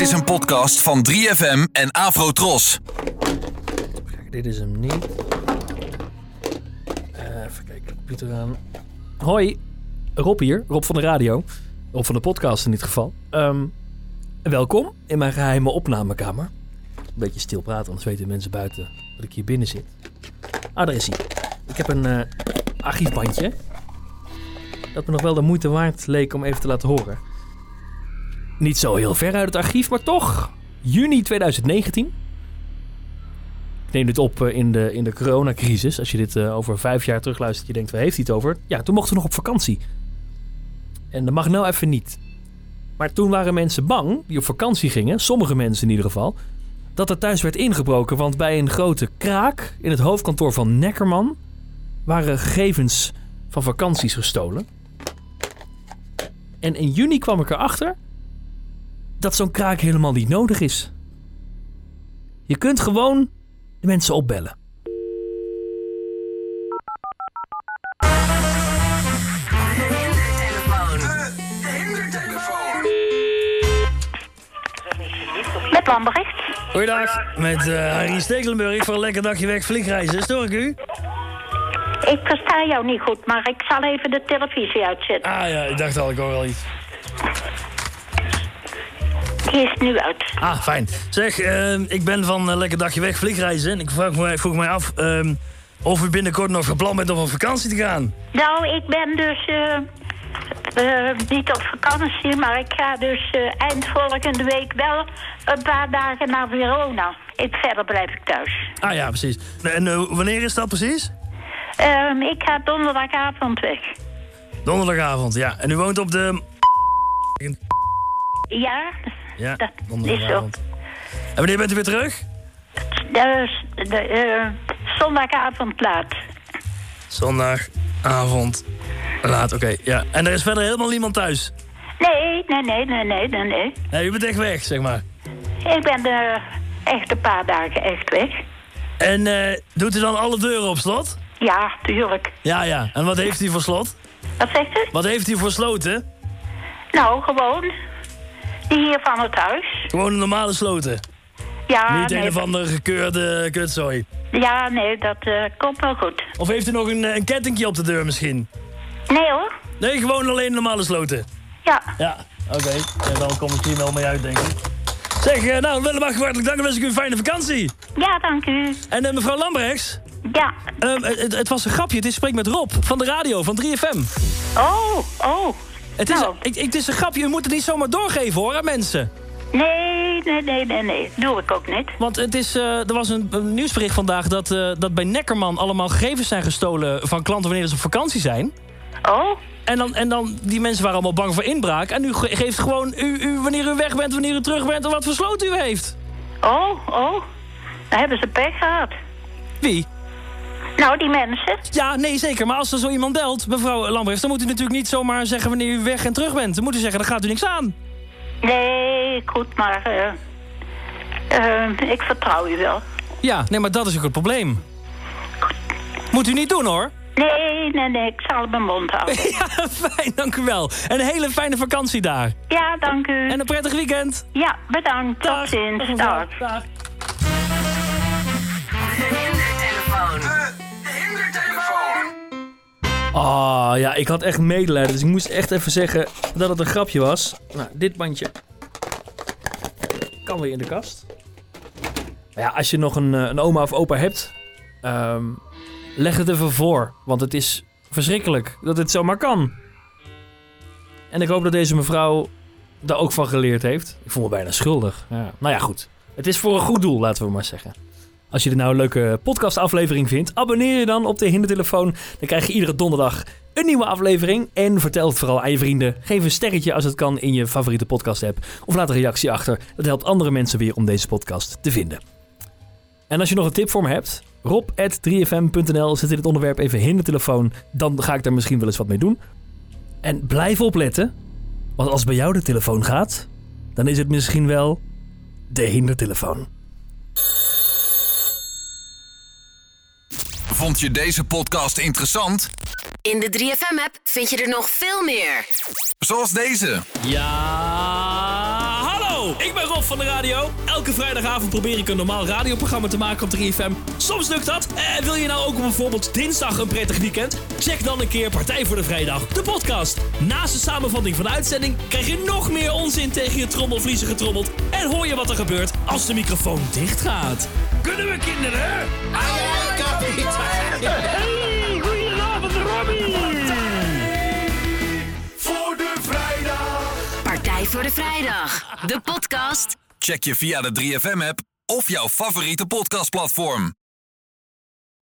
is een podcast van 3FM en Afrotros. Kijk, dit is hem niet. Eh, even kijken, computer aan. Hoi, Rob hier. Rob van de radio. Rob van de podcast in dit geval. Ehm, welkom in mijn geheime opnamekamer. Een beetje stil praten, anders weten mensen buiten dat ik hier binnen zit. Ah, daar is hij. Ik heb een eh, archiefbandje. Dat me nog wel de moeite waard leek om even te laten horen. Niet zo heel ver uit het archief, maar toch. Juni 2019. Ik neem dit op eh, in de, in de coronacrisis. Als je dit eh, over vijf jaar terugluistert, je denkt, waar heeft hij het over? Ja, toen mochten we nog op vakantie. En dat mag nou even niet. Maar toen waren mensen bang, die op vakantie gingen, sommige mensen in ieder geval, dat er thuis werd ingebroken. Want bij een grote kraak in het hoofdkantoor van Neckerman waren gegevens van vakanties gestolen. En in juni kwam ik erachter dat zo'n kraak helemaal niet nodig is. Je kunt gewoon de mensen opbellen. Met wanbericht. Goeiedag, met eh, Harry Stekelenburg voor een lekker dagje weg vliegreizen. Stoor ik u? Ik versta jou niet goed, maar ik zal even de televisie uitzetten. Ah ja, ik dacht al, ik hoor wel iets. Die is nu uit. Ah, fijn. Zeg, eh, ik ben van eh, lekker dagje weg vliegreizen en ik vroeg mij, vroeg mij af ehm, of u binnenkort nog gepland bent om op vakantie te gaan. Nou, ik ben dus eh, eh, niet op vakantie, maar ik ga dus eh, eind volgende week wel een paar dagen naar Verona. Ik, verder blijf ik thuis. Ah ja, precies. En eh, wanneer is dat precies? Ehm, ik ga donderdagavond weg. Donderdagavond, ja. En u woont op de... Ja, Ja, dat is zo. donderdagavond. En wanneer bent u weer terug? Dus, de, eh, zondagavond laat. Zondagavond. Laat, oké. Ja. En er is verder helemaal niemand thuis. Nee, nee, nee, nee, nee, nee, nee. Nee, u bent echt weg, zeg maar. Ik ben eh, echt een paar dagen echt weg. En eh, doet u dan alle deuren op slot? Ja, tuurlijk. Ja, ja. En wat heeft hij voor slot? Wat zegt u? Wat heeft hij voor sloten? Nou, gewoon. Die hier van het huis. Gewoon een normale sloten. Ja, Niet Ah, nee, een of andere gekeurde kutzooi. ja, nee dat eh, komt wel goed. Of heeft u nog een, eh, een kettingje op de deur misschien? Nee hoor. Nee, gewoon alleen normale sloten. Ja, Ja, oké. Ja, dan kom ik hier wel mee uit, denk ik. Zeg, eh, nou, Willemach, hartelijk dank en wens ik u een fijne vakantie. ja, dank u. En eh, mevrouw Lambrechts, Ja. eh, het, het was een grapje. Het is Spreek met Rob van de radio, van 3FM. Oh, oh. Het is, Nou. ik, ik- het is een grapje, u moet het niet zomaar doorgeven hoor aan mensen. Nee, nee, nee, nee, nee. Doe ik ook niet. Want het is, eh, er was een, een nieuwsbericht vandaag dat, eh, dat bij Neckerman allemaal gegevens zijn gestolen van klanten wanneer ze op vakantie zijn. Oh, En dan, en dan die mensen waren allemaal bang voor inbraak. En u ge- geeft gewoon u, u, wanneer u weg bent, wanneer u terug bent en wat voor sloot u heeft. oh, oh. Dan hebben ze pech gehad. Wie? Nou, die mensen. Ja, nee, zeker. Maar als er zo iemand belt, mevrouw Lambrechts, dan moet u natuurlijk niet zomaar zeggen wanneer u weg en terug bent. Dan moet u zeggen, daar gaat u niks aan. Nee, goed, maar... eh, eh, ik vertrouw u wel. Ja, nee, maar dat is ook het probleem. Moet u niet doen hoor. Nee, nee, nee. Ik zal mijn mond houden. Ja, fijn, dank u wel. En een hele fijne vakantie daar. Ja, dank u. En een prettig weekend. Ja, bedankt. Tot ziens. Dag. Ah, ja, ik had echt medelijden, dus ik moest echt even zeggen dat het een grapje was. Nou, dit bandje kan weer in de kast. Maar ja, als je nog een, eh, een oma of opa hebt, ehm, leg het even voor. Want het is verschrikkelijk dat het zomaar kan. En ik hoop dat deze mevrouw daar ook van geleerd heeft. Ik voel me bijna schuldig. Ja. Nou ja, goed. Het is voor een goed doel, laten we maar zeggen. Als je dit nou een leuke podcastaflevering vindt, abonneer je dan op de Hindertelefoon. Dan krijg je iedere donderdag een nieuwe aflevering. En vertel het vooral aan je vrienden. Geef een sterretje als het kan in je favoriete podcast-app. Of laat een reactie achter. Dat helpt andere mensen weer om deze podcast te vinden. En als je nog een tip voor me hebt, rob.3fm.nl zet in het onderwerp even Hindertelefoon. Dan ga ik daar misschien wel eens wat mee doen. En blijf opletten, want als bij jou de telefoon gaat, dan is het misschien wel de Hindertelefoon. Vond je deze podcast interessant? In de 3FM-app vind je er nog veel meer. Zoals deze. Ja, hallo! Ik ben Rob van de Radio. Elke vrijdagavond probeer ik een normaal radioprogramma te maken op 3FM. Soms lukt dat. En wil je nou ook op bijvoorbeeld dinsdag een prettig weekend? Check dan een keer Partij voor de Vrijdag, de podcast. Naast de samenvatting van de uitzending krijg je nog meer onzin tegen je trommelvliezen getrommeld. En hoor je wat er gebeurt als de microfoon dicht gaat. Kunnen we kinderen? Hey, goedenavond Robbie! Voor de vrijdag. Partij voor de Vrijdag. De podcast. Check je via de 3FM-app of jouw favoriete podcastplatform.